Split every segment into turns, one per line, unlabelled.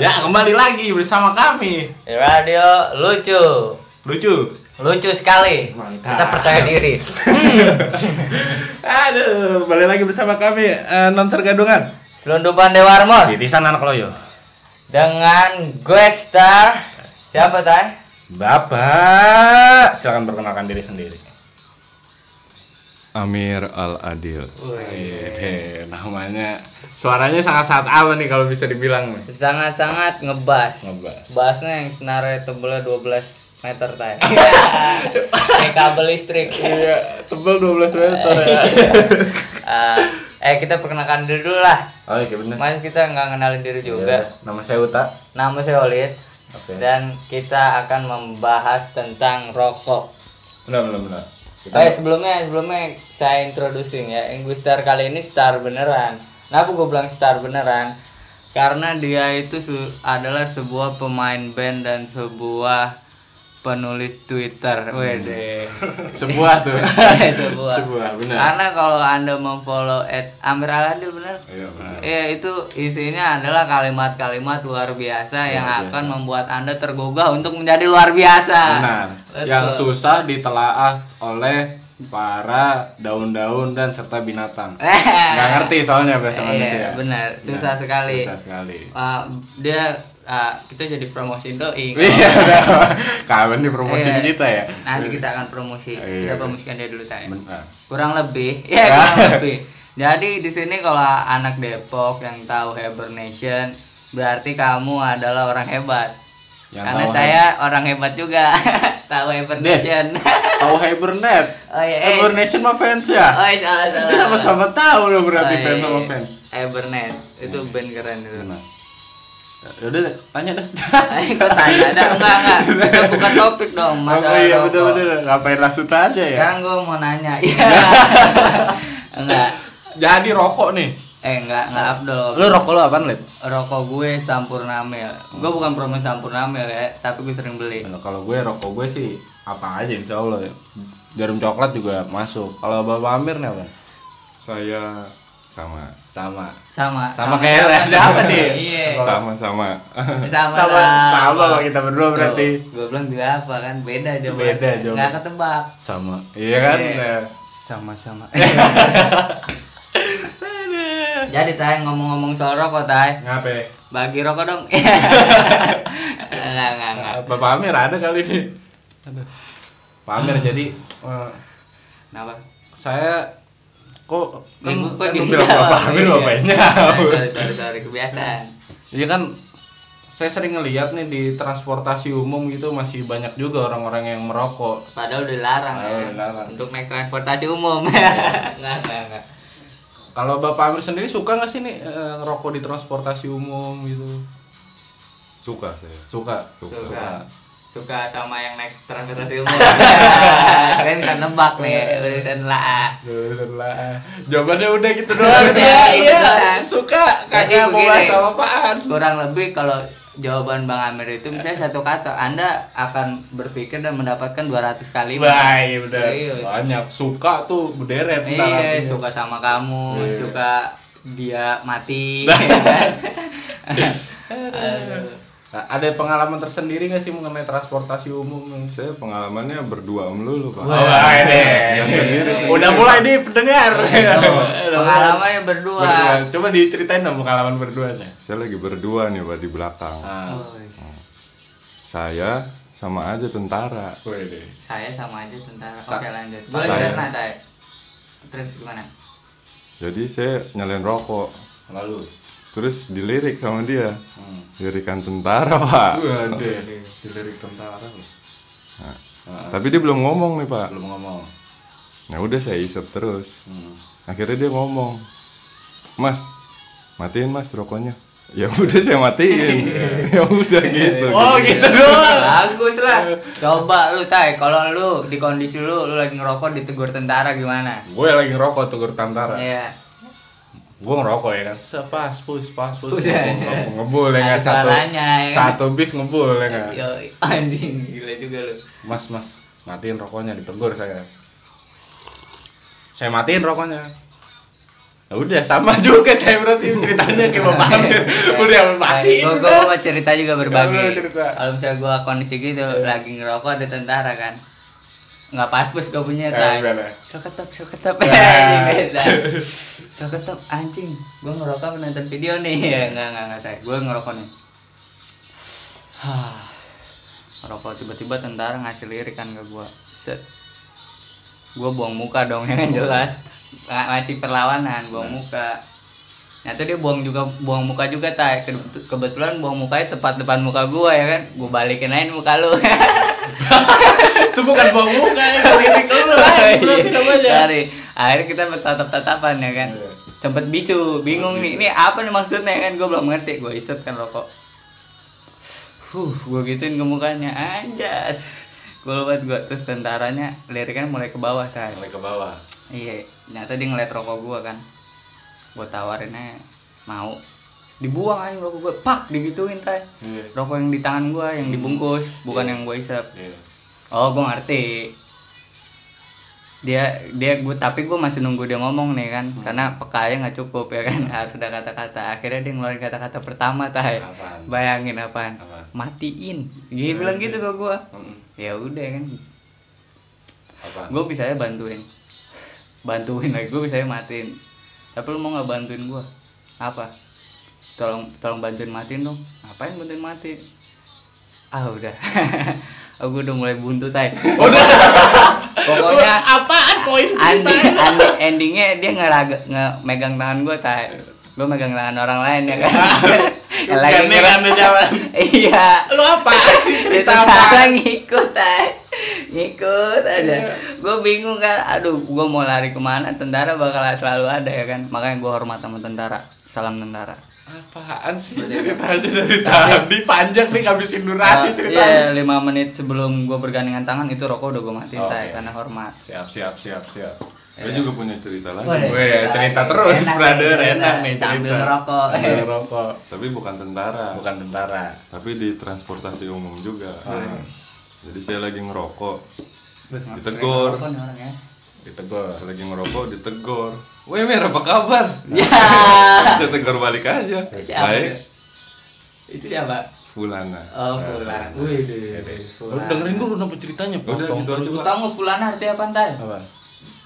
ya kembali lagi bersama kami
Di radio lucu
lucu
lucu sekali
Mantap.
kita percaya diri
aduh kembali lagi bersama kami eh, non sergadungan
selundupan Dewarmor
titisan anak loyo
dengan gue star siapa tay
bapak silakan perkenalkan diri sendiri
Amir Al Adil.
Hehehe, namanya suaranya sangat sangat apa nih kalau bisa dibilang nih
sangat-sangat ngebas
Ngebas.
basnya yang senarnya tebelnya 12 meter tay Iya. kayak kabel listrik
iya tebel 12 meter ya
Ah, eh kita perkenalkan diri dulu lah
oke Oh, iya, bener Iya.
Mas kita nggak kenalin diri juga
nama saya Uta
nama saya Olid
Oke.
dan kita akan membahas tentang rokok
benar benar benar
Oh ya, sebelumnya sebelumnya saya introducing ya, yang gue star kali ini star beneran. Kenapa gue bilang star beneran? Karena dia itu su- adalah sebuah pemain band dan sebuah penulis Twitter. Wede.
sebuah tuh
sebuah.
Hmm. Sebuah, benar.
Karena kalau anda memfollow at Amir Aladil bener?
Iya, benar.
Iya itu isinya adalah kalimat-kalimat luar biasa yang akan membuat anda tergugah untuk menjadi luar biasa.
benar yang
Betul.
susah ditelaah oleh para daun-daun dan serta binatang nggak ngerti soalnya
Eh.
bahasa
Iya,
manusia
benar. Susah sekali.
susah sekali
Ah, dia ah, kita jadi promosi doi.
iya udah. kawan di promosi
Iya.
kita ya
Nanti kita akan promosi. Kita
Iya.
promosikan dia dulu tay.
Benar.
Kurang lebih. Ya, kurang lebih. Jadi di sini kalau anak Depok yang tahu Hibernation berarti kamu adalah orang hebat.
Yang
Karena
tahu
saya orang hebat juga. tahu Hibernation.
tahu hibernate
oh iya. eh.
hibernation mah fans ya
Oh, iya, salah salah.
Ini sama-sama tahu loh
Oh,
berarti
iya,
fans sama
iya.
fans Iya.
Hibernate. Itu band keren itu.
Ya udah tanya dah
Kau tanya dah enggak enggak kita buka topik dong
oh
masalah
iya
rokok.
betul-betul ngapain langsung aja ya
Sekarang gue mau nanya. Iya. enggak.
jadi rokok nih
Eh enggak enggak Abdul.
lu rokok lu apaan lip
Rokok gue Sampurna Mil. Gue bukan promo Sampurna Mil ya, tapi gue sering beli.
Nah, kalau gue rokok gue sih apa aja insya Allah ya. Jarum coklat juga masuk. Kalau Bapak Amir nih apa?
Saya sama
Sama.
Sama
Sama kayak ya, siapa nih?
Iya.
sama sama.
Sama.
Sama,
lah.
sama lah kita berdua berarti.
Gue bilang juga apa kan beda jawabannya.
Beda jawabannya.
Enggak ketebak.
Sama. Iya kan?
Iya.
Nah.
Sama-sama. Jadi tay ngomong-ngomong soal rokok tay.
Ngapain?
Bagi rokok dong. Enggak, enggak, enggak.
Nah, Bapak Amir ada kali ini. Aduh. Pak Amir jadi eh,
Kenapa?
saya kok kan
Minggu Iya.
saya belum bilang Bapak Amir bapaknya.
Sorry, sorry, sorry, kebiasaan.
Iya kan saya sering ngeliat nih di transportasi umum gitu masih banyak juga orang-orang yang merokok.
Padahal udah larang
Padahal
ya.
Oh, udah larang.
Untuk naik transportasi umum. Enggak, enggak, enggak.
Kalau Bapak Amir sendiri suka nggak sih nih eh, rokok di transportasi umum gitu?
Suka saya.
Suka.
Suka.
Suka.
Suka.
Suka sama yang naik transportasi umum. Kalian bisa nebak nih, udah bisa nelaah.
Lah, jawabannya udah gitu doang.
Udah,
ya,
iya.
Suka.
Jadi
Kagak mau
begini.
bahas sama apaan.
Kurang lebih kalau jawaban Bang Amir itu misalnya satu kata, Anda akan berpikir dan mendapatkan 200 kalimat.
Baik, bener.
Serius.
Banyak suka tuh berderet ntar
Iya,
artinya.
suka sama kamu,
Iya.
suka dia mati. ya kan? Aduh.
Nah, ada pengalaman tersendiri nggak sih mengenai transportasi umum yang
Saya pengalamannya berdua melulu pak.
Oh, ini.
Yang sendiri, sendiri.
Udah mulai nih pendengar.
Pengalaman yang berdua.
Berdua. Coba diceritain dong pengalaman berduanya.
Saya lagi berdua nih pak di belakang.
Ah,
Wes,
Saya sama aja tentara.
wede.
Saya sama aja tentara.
Sa-
Oke lanjut. Boleh
saya.
jelasin Tay? Terus gimana?
Jadi saya nyalain rokok.
Lalu.
Terus dilirik sama dia. Lirikan tentara pak.
Waduh, dilirik tentara loh.
Nah, Tapi dia belum ngomong nih pak.
Belum ngomong.
Nah udah saya isep terus.
Hmm.
Akhirnya dia ngomong, Mas, matiin mas rokoknya. ya udah saya matiin ya udah gitu
Oh gitu doang.
Bagus lah. Coba lu tay, kalau lu di kondisi lu lu lagi ngerokok ditegur tentara gimana?
Gue lagi ngerokok tuh tantara.
Iya.
Gue ngerokok ya kan. Sepas pus pas pus
Pus aja.
ngebul, ngebul ya nggak
Ada
satu
suaranya, ya. Iya.
satu bis ngebul ya nggak.
Yo anjing gila juga lu.
Mas mas matiin rokoknya ditegur saya. Saya matiin rokoknya. Ya udah sama juga saya berarti ceritanya kayak bapak Amir. Udah matiin.
Gue
udah.
mau cerita juga
Gua mau
berbagi.
cerita. Iya.
Kalau misalnya gue kondisi gitu lagi ngerokok ada tentara kan. Nggak pas pus gue punya
Eh,
tay.
gimana?
So ketep, so ketep.
Nah.
Anjing, beda. Iya, So ketep anjing. Gue ngerokok apa nonton video nih. Ya nggak nggak nggak tay. Gue ngerokok nih. Hah. ngerokok tiba-tiba tentara ngasih lirik kan ke gue. Set. Gue buang muka dong yang jelas. Nggak- Masih perlawanan, buang muka. Nah tuh dia buang juga buang muka juga tay. Ke- Kebetulan buang mukanya tepat depan muka gue ya kan. Gue balikin aja nih muka lu.
gitu. Itu bukan buang muka ya politik lu lah.
Iya. Sorry. Akhirnya kita bertatap-tatapan ya kan.
Iya.
Sempet bisu, bingung nih. Ini apa nih maksudnya ya kan? Gue belum ngerti. Gue isep kan rokok. Huh, gue gituin ke mukanya. Anjas. Gue banget gue terus tentaranya liriknya mulai ke bawah kan.
Mulai ke bawah.
Iya, nyata dia ngeliat rokok gua kan. Gua tawarinnya mau dibuang aja rokok gua, pak digituin tay.
Iya.
Rokok yang di tangan gua yang dibungkus, bukan yang gua isap.
Iya.
Oh, gua ngerti. Dia dia gua tapi gua masih nunggu dia ngomong nih kan,
Hmm.
karena pekanya nggak cukup ya kan, harus ada kata-kata. Akhirnya dia ngeluarin kata-kata pertama tay.
Apaan?
Bayangin apaan?
Apaan? Hmm.
Matiin. Dia bilang gitu ke gua.
Mm-mm.
Ya udah kan.
Apa?
Gue bisa ya bantuin. Bantuin lagi gue bisa ya matiin. Tapi lu mau nggak bantuin gua? Apa? Tolong tolong bantuin matiin dong. Ngapain bantuin matiin? Ah udah. Aku udah mulai buntu tay. Udah. Pokoknya
Apaan poin?
Andi, Andi endingnya dia ngeraga, nge megang tangan gue tay gue megang tangan orang lain ya kan Yang lagi
Bukan nih,
ngerokok.
Andi Jalan.
iya
Lu apa sih
itu
cerita
salah ngikut tay ngikut aja gue bingung kan aduh gue mau lari kemana tentara bakal selalu ada ya kan makanya gue hormat sama tentara salam tentara
Apaan sih ceritanya dari tadi panjang nih ngabisin
Eh,
durasi cerita.
iya lima menit sebelum gue bergandengan tangan itu rokok udah gue matiin
Oh,
tay
oke.
karena hormat
Siap siap siap siap.
saya juga punya cerita lagi
Boleh.
Gue ya, cerita terus
Enak nih,
brother
cerita.
enak nih cerita.
Sambil ngerokok.
Sambil ngerokok.
tapi bukan tentara
Bukan tentara.
tapi di transportasi umum juga jadi saya lagi ngerokok
Sering
ditegur
ngerokok nih orang ya
Ditegur.
lagi ngerokok ditegur weh mir apa kabar
Ya.
saya tegur balik aja
Iya,
Siapa?
baik
Itu siapa?
fulana
Oh, Fulan. Wih, deh.
Lu dengerin dulu nama ceritanya.
Oh,
udah
potong
gitu
terus.
aja
Lu
Pak.
tau nggak Fulan artinya apa Tay?
Apa?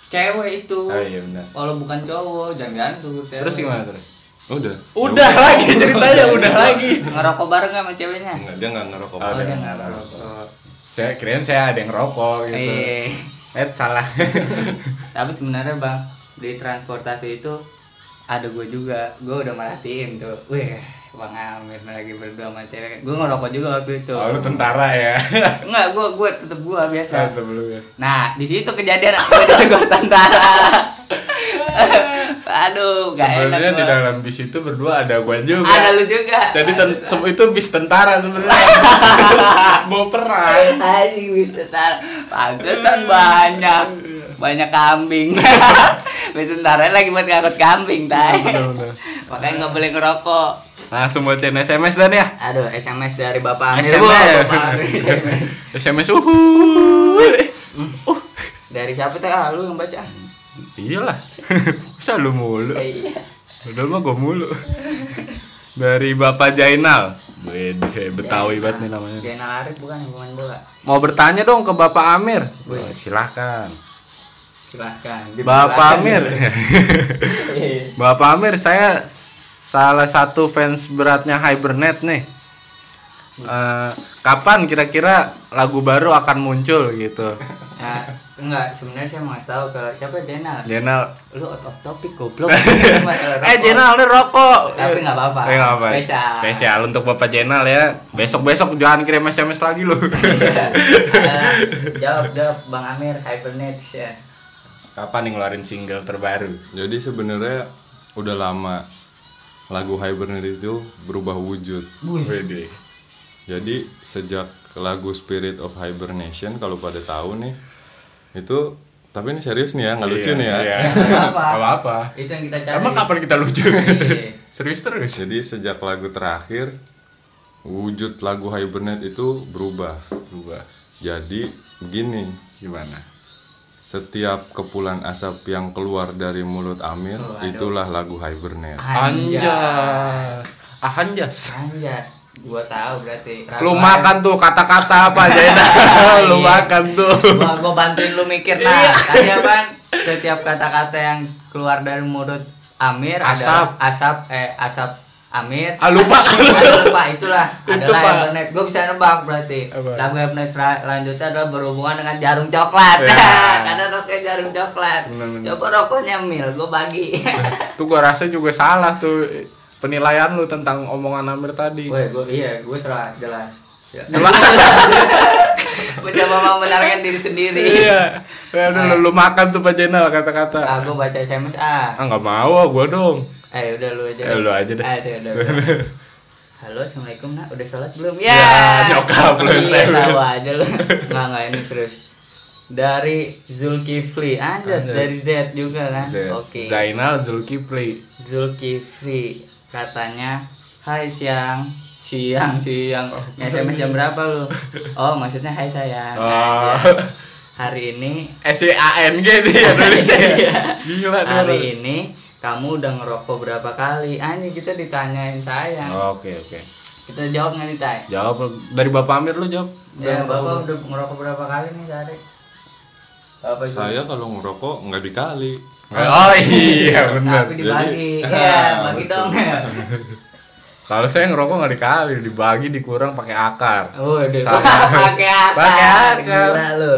Cewek itu.
Oh iya benar.
Kalau bukan cowok, jangan tuh. cewek.
Terus gimana terus?
udah
Udah lagi ceritanya udah lagi.
Ngerokok bareng sama ceweknya?
Enggak, dia nggak ngerokok
Oh,
Oh,
dia
dia
nggak
nggak
ngerokok. Saya kirain saya ada yang ngerokok gitu.
Eh,
Eh salah.
tapi sebenarnya bang di transportasi itu ada gue juga. Gue udah merhatiin tuh. Wih, Bang Amir lagi berdua sama cewek. Gue ngerokok juga waktu itu.
Oh, lu Oh, tentara ya.
Iya. Enggak, gue gue tetep gue biasa.
Saya sebelumnya.
Nah, di situ kejadian aku ditegur tentara. Aduh, gak enak.
Sebenarnya di
gua.
dalam bis itu berdua ada gua juga.
Ada lu juga.
Jadi ten- sem- itu bis tentara sebenarnya. Mau perang.
Anjing bis tentara. Pantesan banyak. Banyak kambing. bis tentara lagi buat ngangkut kambing,
Iya,
tay.
Bener-bener.
Makanya nggak boleh ngerokok.
Langsung bacain SMS dan ya.
Aduh, SMS dari Bapak Amir. Wah,
SMS.
Bapak Amir.
SMS uhu.
Hmm.
Uh.
dari siapa teh? Ah, lu yang baca.
Iyalah. Masa lu mulu.
Eh, Iya.
Padahal mah gua mulu. Dari Bapak Jainal. Wede, Betawi banget nih namanya.
Zainal Arif bukan yang pemain bola.
Mau bertanya dong ke Bapak Amir. Oh, silahkan.
Silahkan.
Bapak Amir.
Iya.
Bapak Amir, saya salah satu fans beratnya Hibernate nih. Eh, kapan kira-kira lagu baru akan muncul gitu?
Nah, enggak, sebenarnya saya mau ngasih tahu kalau siapa Jenal.
Jenal.
Lu out of topic goblok. Ini masalah
Iya. eh
rokok.
Jenal ini rokok.
Tapi nggak apa-apa.
Eh, nggak apa-apa.
Spesial.
Spesial untuk Bapak Jenal ya. Besok-besok jangan kirim SMS lagi loh.
Eh, jawab jawab Bang Amir Hibernate ya.
kapan nih ngeluarin single terbaru?
jadi sebenarnya udah lama lagu Hibernate itu berubah wujud.
Wede.
Jadi sejak lagu Spirit of Hibernation kalau pada tahu nih itu tapi ini serius nih ya, nggak lucu nih ya.
Iya.
Apa?
Gak apa-apa.
Itu yang kita cari.
Emang kapan kita lucu?
Iya.
Serius terus.
Jadi sejak lagu terakhir wujud lagu Hibernate itu berubah.
Berubah.
Jadi begini,
Gimana?
Setiap kepulan asap yang keluar dari mulut Amir, itulah lagu Hibernate.
Anjas. Ahanjas.
Anjas. Gua tahu berarti. Ragu
Lu
aja.
makan tuh kata-kata apa aja itu. Lu
Iya.
makan tuh.
Gua, gua bantuin lu mikir
Iya.
nah. Tadi apaan? Setiap kata-kata yang keluar dari mulut Amir
Asap.
adalah asap eh asap Amir.
Ah lupa.
Saya lupa itulah
Itu,
adalah
Pak.
Evernet. Gue bisa nebak berarti.
Apa?
Lagu Evernet selanjutnya adalah berhubungan dengan jarum coklat.
Iya.
Karena rokoknya jarum coklat. Coba rokoknya mil, gue bagi.
tuh gua rasa juga salah tuh penilaian lu tentang omongan Amir tadi.
Woi, gue iya, gue salah jelas.
Jelas.
Mencoba membenarkan diri sendiri.
Iya. Aduh, lu, lu makan tuh Pak Jenal kata-kata.
Ah, gue baca SMS ah.
Ah nggak mau ah gua dong.
Eh, udah lu aja.
Eh, lu aja deh.
Ah, udah, udah, udah. Halo, assalamualaikum nak. Udah sholat belum? Ya.
nyokap lu,
Iya,
saya.
tahu aja lu. Nggak nggak ini terus. Dari Zulkifli, anjas dari Z juga kan?
Z-
Oke.
Zainal Zulkifli.
Zulkifli katanya, Hai siang, siang, siang. SMS jam berapa lu? Oh, maksudnya Hai sayang.
Oh.
Anjas. Hari ini
S Eh, A N G nih ya nulisnya.
Iya.
Gila nih
hari
orang.
ini kamu udah ngerokok berapa kali? Anjing kita ditanyain sayang.
Oke oke.
Kita jawab nggak nih Tay?
Jawab lu. dari Bapak Amir lu jawab.
Ya, Bapak udah ngerokok berapa kali nih sehari? Bapak juga.
Saya kalau ngerokok nggak dikali.
Oh iya benar.
Tapi dibagi.
Jadi-
ya,
Ah,
bagi
betul.
dong.
Kalau saya ngerokok nggak dikali, dibagi dikurang pakai akar.
Waduh,
Sama.
pakai akar.
Pakai akar.
Gila lu.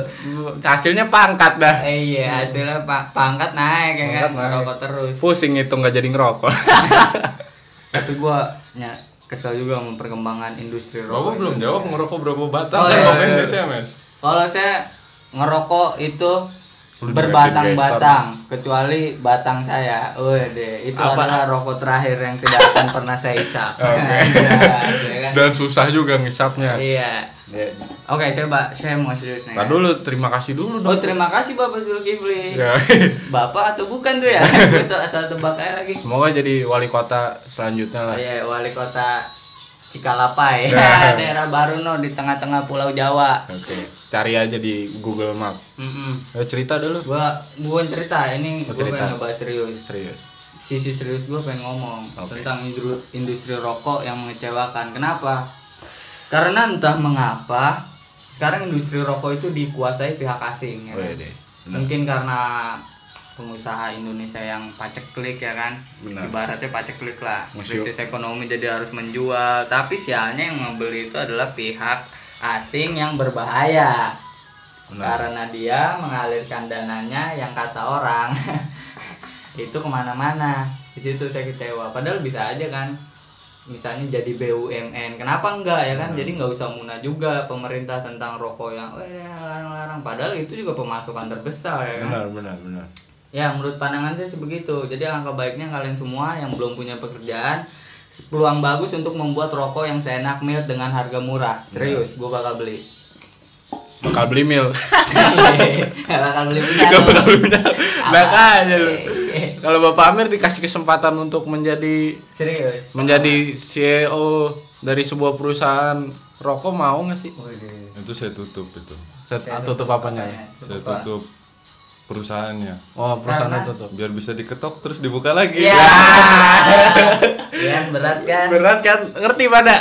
Hasilnya pangkat dah.
Eh, iya, hasilnya pak pangkat naik ya kan,
Pangkat naik.
ngerokok terus.
Pusing itu nggak jadi ngerokok.
Tapi gua ya, kesel juga sama perkembangan industri rokok.
Bapak belum
Indonesia.
jawab ngerokok berapa batang?
Oh,
Kan
iya,
Bapak
iya.
ini SMS.
Kalau saya ngerokok itu
Lu
berbatang-batang kecuali batang saya. Wede, itu adalah rokok terakhir yang tidak akan pernah saya isap. Anjas, ya kan?
Dan susah juga ngisapnya.
Iya. Oke, saya Mbak, saya mau serius nih.
Nah dulu terima kasih dulu
Iya. Oh,
dong.
terima kasih Bapak Zulkifli.
Ya.
Bapak atau bukan tuh ya? Gua asal- asal tebak aja lagi.
Semoga jadi wali kota selanjutnya lah.
Iya, wali kota Cikalapai. Ya, daerah baru no di tengah-tengah Pulau Jawa.
Oke. Cari aja di Google Map.
Mm-mm.
Ya, cerita dulu.
Gua bukan cerita, ini
Oh,
gua
cerita.
pengen ngebahas serius.
Serius.
sisi serius gue pengen ngomong
Oke.
tentang indru- industri rokok yang mengecewakan. Kenapa? Karena entah mengapa sekarang industri rokok itu dikuasai pihak asing. Ya kan?
Wede.
Mungkin karena pengusaha Indonesia yang paceklik ya kan.
Benar.
Ibaratnya paceklik lah.
Masih-
Krisis ekonomi jadi harus menjual. Tapi sialnya yang membeli itu adalah pihak asing yang berbahaya. Karena dia mengalirkan dananya yang kata orang itu kemana-mana. Di situ saya kecewa. Padahal bisa aja kan. Misalnya jadi BUMN, kenapa enggak ya kan? Jadi nggak usah muna juga pemerintah tentang rokok yang "Weh, ya, larang-larang. Padahal itu juga pemasukan terbesar ya kan.
Benar benar benar.
Ya, menurut pandangan saya sebegitu. Jadi alangkah baiknya kalian semua yang belum punya pekerjaan peluang bagus untuk membuat rokok yang seenak mil dengan harga murah. Serius, gue bakal beli.
Bakal beli mil.
Gak bakal beli punya lu.
Makanya lu. Kalau Bapak Amir dikasih kesempatan untuk menjadi
Serius.
menjadi CEO dari sebuah perusahaan rokok mau nggak sih?
Itu saya tutup itu.
Set, tutup apanya? ya?
Saya tutup perusahaannya.
Oh perusahaan tutup.
Biar bisa diketok terus dibuka lagi.
Ya. Iya, berat kan?
Berat kan? Ah, iya. Ngerti pada?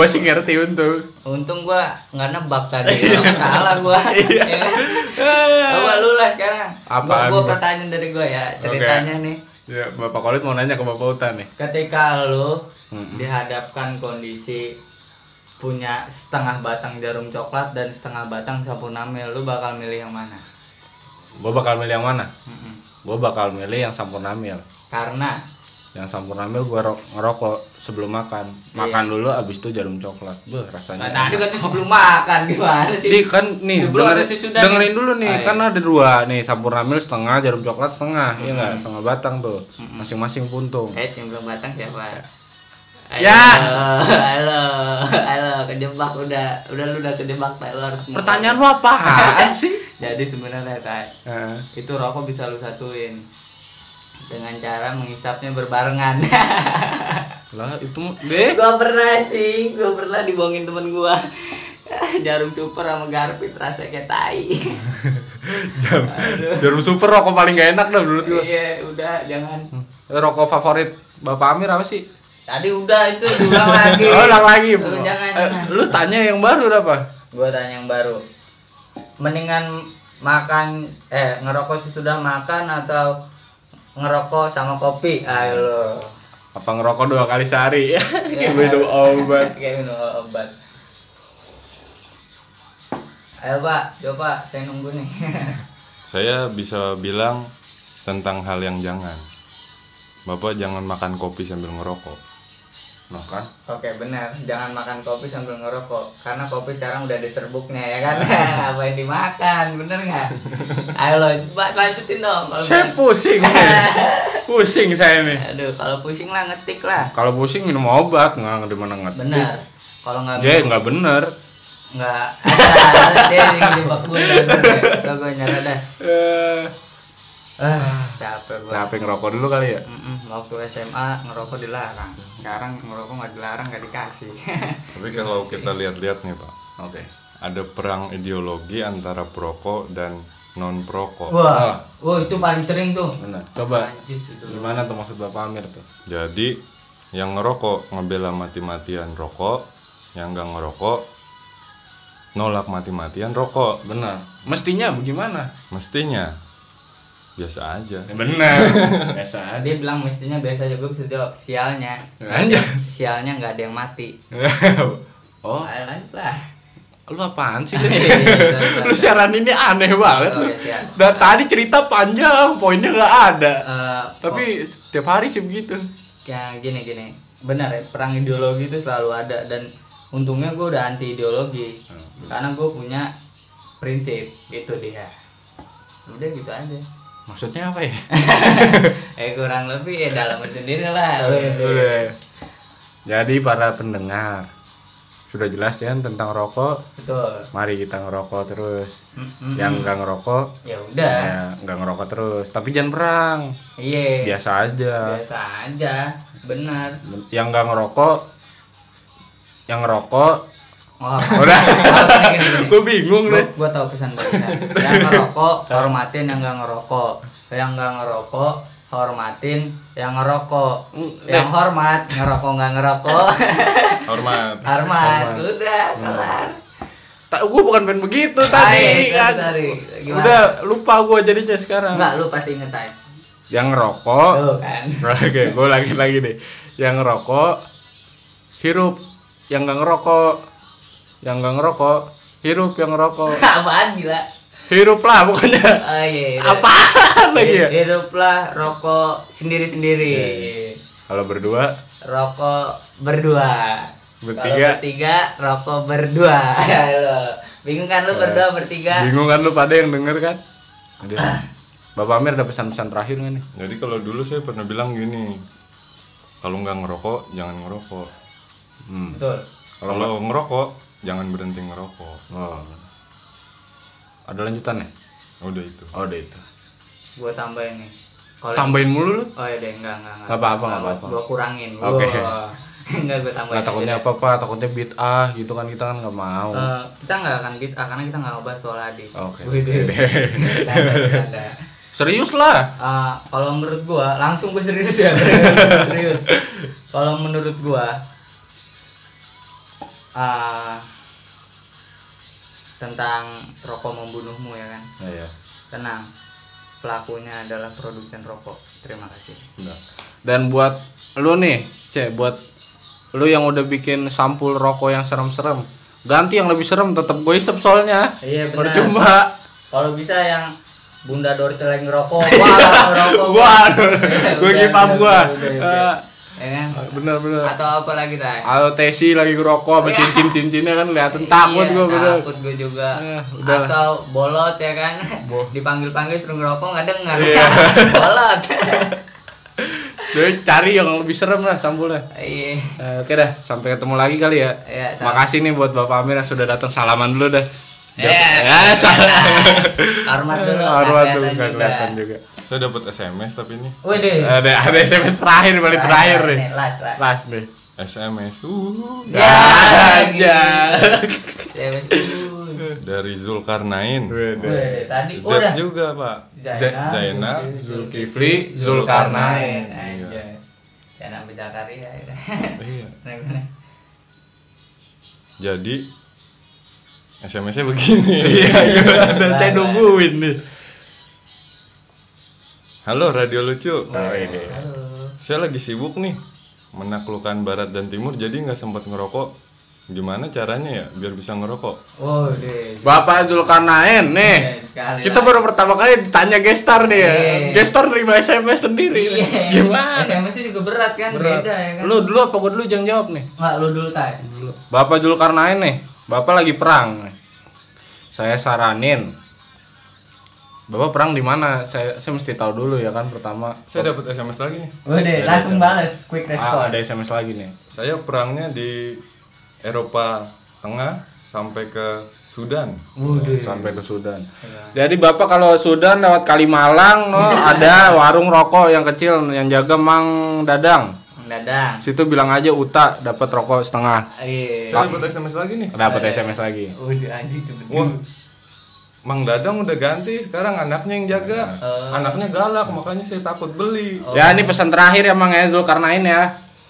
Gue sih ngerti untung.
Untung gua nggak nebak tadi. Kalau salah gua. Iya. Coba lu lah sekarang.
Apaan,
Gua, gua
Bro?
pertanyaan dari gua ya, ceritanya nih.
Ya, Bapak Kolit mau nanya ke Bapak Uta nih.
ketika lu dihadapkan kondisi punya setengah batang jarum coklat dan setengah batang sapu namil lu bakal milih yang mana
Gue bakal milih yang mana? Gue bakal milih yang Sampurnamil.
karena
yang sampur ambil gue ngerokok sebelum makan makan dulu abis itu jarum coklat Beuh, rasanya
Nah, tadi berarti sebelum makan gimana sih?
Jadi kan nih
sebelum atau
dengerin,
sesudah?
dengerin dulu nih
Ah, iya.
kan ada dua nih sampurna mil setengah jarum coklat setengah ya enggak setengah batang tuh masing-masing puntung
Eh, yang belum datang siapa? Halo,
Ya.
halo, halo, kejebak udah, udah lu udah kejebak Tay, lu harus ngomong.
pertanyaan lu apaan sih
Jadi sebenarnya Tay,
Eh,
itu rokok bisa lu satuin dengan cara menghisapnya berbarengan.
lah itu mah- deh
gua pernah sih, gua pernah dibohongin temen gua. Jarum super sama garpit rasanya kayak tai.
jarum, jarum super rokok paling gak enak dah menurut gue
Iya, udah jangan.
rokok favorit bapak Amir apa sih
Tadi udah itu diulang lagi.
oh ulang lagi
Lu jangan.
Eh, lu tanya yang baru dah, apa
Gua tanya yang baru. Mendingan makan eh ngerokok sesudah makan atau ngerokok sama kopi? Ayo lo.
apa ngerokok dua kali sehari
Iya.
kayak minum obat
Kayak minum obat. Ayo Pak, jawab Pak, saya nunggu nih.
Saya bisa bilang tentang hal yang jangan. Bapak jangan makan kopi sambil ngerokok.
makan
Oke benar, jangan makan kopi sambil ngerokok Karena kopi sekarang udah ada serbuknya ya kan
Ah.
Apa yang dimakan, bener nggak? Ayo lo, Pak, lanjutin dong kalau
saya pusing nih pusing saya nih
Aduh, kalau pusing lah ngetik lah.
kalau pusing minum obat nggak di mana ngerti
Benar. Kalau nggak
Jay nggak bener
nggak ada dia yang jebak gue. Gue gue nyara dah.
eh
Ah, capek gue.
capek ngerokok dulu kali ya
waktu SMA ngerokok dilarang. Sekarang ngerokok nggak dilarang nggak dikasih.
Tapi kalau kita lihat-lihat nih, Pak,
oke
ada perang ideologi antara perokok dan non perokok.
Wah,
Oh.
wah oh, itu paling sering tuh.
bener coba
Anjis itu.
gimana tuh maksud bapak Amir tuh
Jadi yang ngerokok ngebela mati-matian rokok, yang nggak ngerokok nolak mati-matian rokok.
bener mestinya bagaimana
Mestinya biasa aja.
bener biasa aja
Dia bilang mestinya biasa aja gue bisa jawab sialnya.
Anjir.
Sialnya nggak ada yang mati.
oh
Ayo lanjut lah.
lu apaan sih
Iya,
lu siaran ini aneh banget
Oh,
lu.
iya, siap.
dari tadi cerita panjang poinnya nggak ada
Eh,
tapi setiap hari sih begitu
kayak Ya, gini gini benar ya perang ideologi itu selalu ada dan untungnya gue udah anti ideologi karena gue punya prinsip itu dia udah gitu aja
maksudnya apa ya
eh kurang lebih ya dalam sendiri lah
Iya. Udah. jadi para pendengar sudah jelas kan tentang rokok
betul
mari kita ngerokok terus yang nggak ngerokok
ya udah
ya nggak ngerokok terus tapi jangan perang
iya
biasa aja
biasa aja benar
yang nggak ngerokok yang ngerokok
oh
udah
gini, gini, gini.
gue bingung
gue
deh
gue tau pesan barusan yang ngerokok hormatin yang nggak ngerokok yang nggak ngerokok hormatin yang ngerokok
Mm, eh.
yang hormat ngerokok nggak ngerokok
Hormat.
hormat udah kelar
gue bukan pengen begitu
Ayo,
tadi
kan,
kan
tadi. Gimana?
udah lupa gue jadinya sekarang
nggak lu pasti inget aja
yang ngerokok
tuh kan
oke gue lagi lagi deh yang ngerokok hirup yang nggak ngerokok yang nggak ngerokok hirup yang ngerokok
apaan gila
hirup lah pokoknya
oh, iya, iya.
apaan lagi ya Iya,
hiduplah rokok sendiri sendiri
kalau berdua
rokok berdua
Bertiga.
Kalau bertiga rokok berdua Halo. bingung kan lu berdua bertiga
Iya. bingung kan lu pada yang denger kan Aduh. Bapak Amir ada pesan-pesan terakhir nggak nih
Jadi kalau dulu saya pernah bilang gini, kalau nggak ngerokok jangan ngerokok.
betul
Kalau ngerokok jangan berhenti ngerokok.
oh. ada lanjutannya
Udah itu.
oh udah itu
gue tambahin nih kalau
tambahin mulu lu
oh ya deh enggak enggak enggak
Nggak apa-apa, nggak apa-apa.
gue kurangin
Oke.
Wah. enggak gue tambahin
nggak Nah, takutnya apa apa takutnya bid'ah gitu kan kita kan nggak mau
Eh, kita nggak akan bid'ah karena kita nggak ngebahas soal hadis
Oke.
Wih, bercanda, bercanda.
serius lah
Eh, kalau menurut gue langsung gue serius ya serius kalau menurut gue eh tentang rokok membunuhmu ya kan
ya,
tenang pelakunya adalah produsen rokok terima kasih
dan buat lu nih ce buat lu yang udah bikin sampul rokok yang serem-serem ganti yang lebih serem tetap gue isep soalnya
Iya benar.
percuma
Kalau bisa yang Bunda Dorita lagi ngerokok, wah ngerokok.
Wah, gue
Udah,
kipam
udah,
gua. Eh.
udah, udah. Ya kan?
bener bener
Atau apa lagi tay?
Atau Tesi lagi ngerokok sama cincin cincinnya kan kelihatan takut
Iya,
gue bener
Takut gue juga.
Eh, udah lah.
Atau bolot ya kan?
Bo- Iya.
Dipanggil-panggil suruh ngerokok nggak dengar. bolot.
Jadi cari yang lebih serem lah sampulnya
Iya.
Eh, Oke dah, sampai ketemu lagi kali ya.
Iya, sama.
Makasih nih buat Bapak Amir yang sudah datang. Salaman dulu dah.
Iya.
Ya, salah.
Hormat dulu. nggak
Arwah tuh
kelihatan
nggak
juga.
kelihatan juga.
Saya dapat SMS tapi ini
Waduh.
Ada ada SMS terakhir paling terakhir nih.
Last last.
Last nih.
SMS uh,
Ya
gitu.
aja.
Ya, wes. Uh,
dari Zulkarnain.
weh, Tadi
Z
udah.
juga pak. Iya.
Zainal,
Zainal,
Zulkifli, Zulkarnain.
aja. Jangan ambil Zakaria ya.
Iya.
Nah,
Jadi SMS-nya begini.
Iya. Ada
Iya,
saya nungguin nih.
Halo Radio Lucu.
Halo.
Saya lagi sibuk nih menaklukkan barat dan timur jadi nggak sempat ngerokok. Gimana caranya ya biar bisa ngerokok?
Waduh.
Bapak Zulkarnain nih.
Oh, Iya, sekali
Kita
lah.
baru pertama kali ditanya gestar nih ya.
Iya.
Gestar nerima SMS sendiri.
Iya.
Gimana?
SMS juga berat kan, beda ya kan.
Lu dulu apa gua dulu jangan jawab nih.
Nggak, lu dulu tay.
Bapak Julkarnain nih, Bapak lagi perang. Saya saranin. Bapak perang di mana? Saya saya mesti tahu dulu ya kan pertama.
Saya dapat SMS lagi nih.
Waduh, langsung balas quick
Ah,
response.
ada SMS lagi nih.
Saya perangnya di Eropa Tengah sampai ke Sudan.
Waduh.
Sampai ke Sudan. Jadi Bapak kalau Sudan lewat Kalimalang no, ada warung rokok yang kecil yang jaga Mang Dadang.
Dadang.
Situ bilang aja Uta dapat rokok setengah.
Iya.
Ah.
Saya dapat SMS lagi nih.
Dapat SMS lagi.
Waduh anjing tuh betul.
Wah, Mang Dadang udah ganti, sekarang anaknya yang jaga.
Ah.
Anaknya galak, makanya saya takut beli.
Ya ini pesan terakhir ya Mang Ezul karena ini ya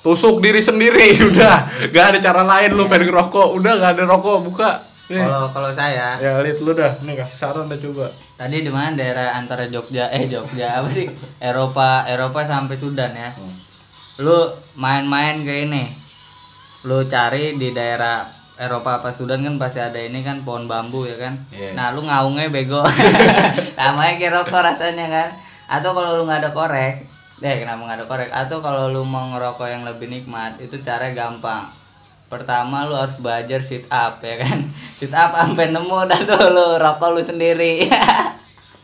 tusuk diri sendiri udah gak ada cara lain lu pengen ngerokok udah gak ada rokok buka Nih.
Kalau kalau saya
ya lihat lu dah nih kasih saran dah coba
tadi di mana daerah antara Jogja eh Jogja apa sih Eropa Eropa sampai Sudan ya. Lu main-main ke ini. Lu cari di daerah Eropa apa Sudan kan pasti ada ini kan pohon bambu ya kan.
Iya.
Nah, lu ngaungnya bego. Namanya kayak rokok rasanya kan. Atau kalau lu nggak ada korek, deh kenapa nggak ada korek? Atau kalau lu mau ngerokok yang lebih nikmat, itu cara gampang. Pertama lu harus belajar sit up ya kan. Sit up sampai nemu dah tuh lu rokok lu sendiri.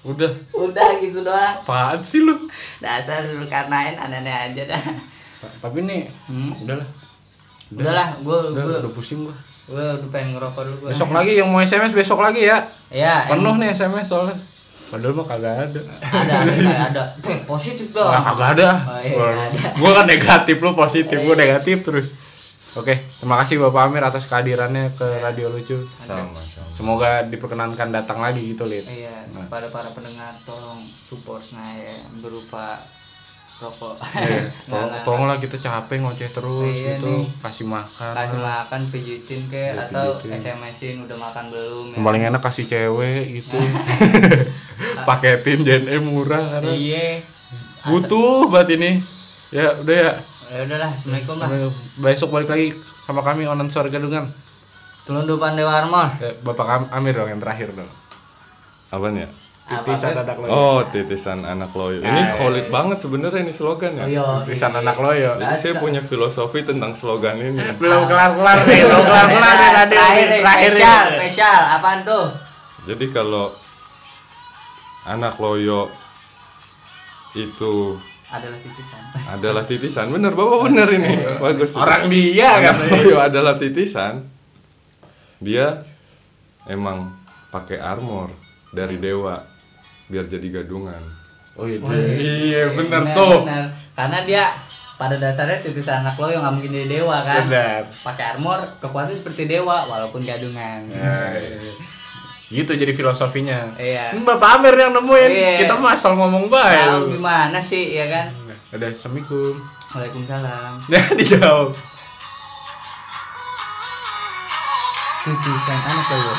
udah
Udah gitu doang.
apaan sih lu
Dasar lu karnain aneh-aneh aja dah.
tapi nih udahlah
Udahlah, gua
udah,
gua
udah pusing gua
gua udah pengen ngerokok dulu gua.
besok lagi yang mau SMS besok lagi ya
Ya,
penuh nih SMS soalnya padahal mah kagak ada
ada ada ada Tuh, positif dong
Wah, kagak ada
Oh, iya,
Gua-
nggak ada. Oh, iya.
gua kan negatif lu positif gua negatif terus oke terima kasih Bapak Amir atas kehadirannya
Iya.
ke Radio Lucu
Sama-sama.
Semoga diperkenankan datang lagi gitu, Lid.
iya kepada para pendengar tolong support saya berupa rokok
Iya,
Nggak,
tolong,
nggak.
tolonglah kita capek ngoceh terus
Iya
gitu,
nih.
kasih makan.
kasih makan pijitin ke
Iya,
atau
pijitin.
SMS-in udah makan belum ya.
Yang paling enak kasih cewek gitu. Paketin JNE murah karena
iya
butuh banget ini. Ya, udah ya.
ya udahlah assalamualaikum lah
Besok balik lagi sama kami Onan Suarga Gadungan.
selundupan Dewa Armor
Eh, Bapak Am- Amir dong yang terakhir dong.
Apaan ya?
Titisan anak Ah, iya, loyo.
Oh, titisan anak loyo. Ini solid banget sebenarnya ini slogan
Oh,
ya.
iya,
yo iya.
Titisan anak ya. loyo.
Nah,
Jadi saya punya filosofi tentang slogan ini.
Belum kelar-kelar nih, belum kelar-kelar nih
terakhir
tadi
terakhir
nih, terakhir.
spesial spesial apaan tuh
Jadi kalau anak loyo itu
adalah titisan
adalah titisan, bener bapak bener ini bagus.
Iya. Orang dia
anak
kan.
loyo adalah Iya, titisan. Dia emang pakai armor dari dewa biar jadi gadungan.
Oh iya, iya bener
Benar,
tuh.
benar. Karena dia pada dasarnya titisan anak lo yang nggak mungkin jadi dewa kan.
Benar.
Pakai armor kekuatannya seperti dewa walaupun gadungan.
Nah, Gitu jadi filosofinya.
Iya.
Ini Bapak Amir yang nemuin.
Iya.
Kita mah asal ngomong
Tahu
baik.
gimana sih ya kan?
Ada assalamualaikum.
Waalaikumsalam.
Nah, dijawab.
Titisan anak lo.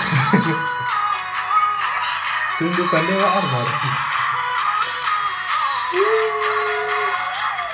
Sundukan dewa armor.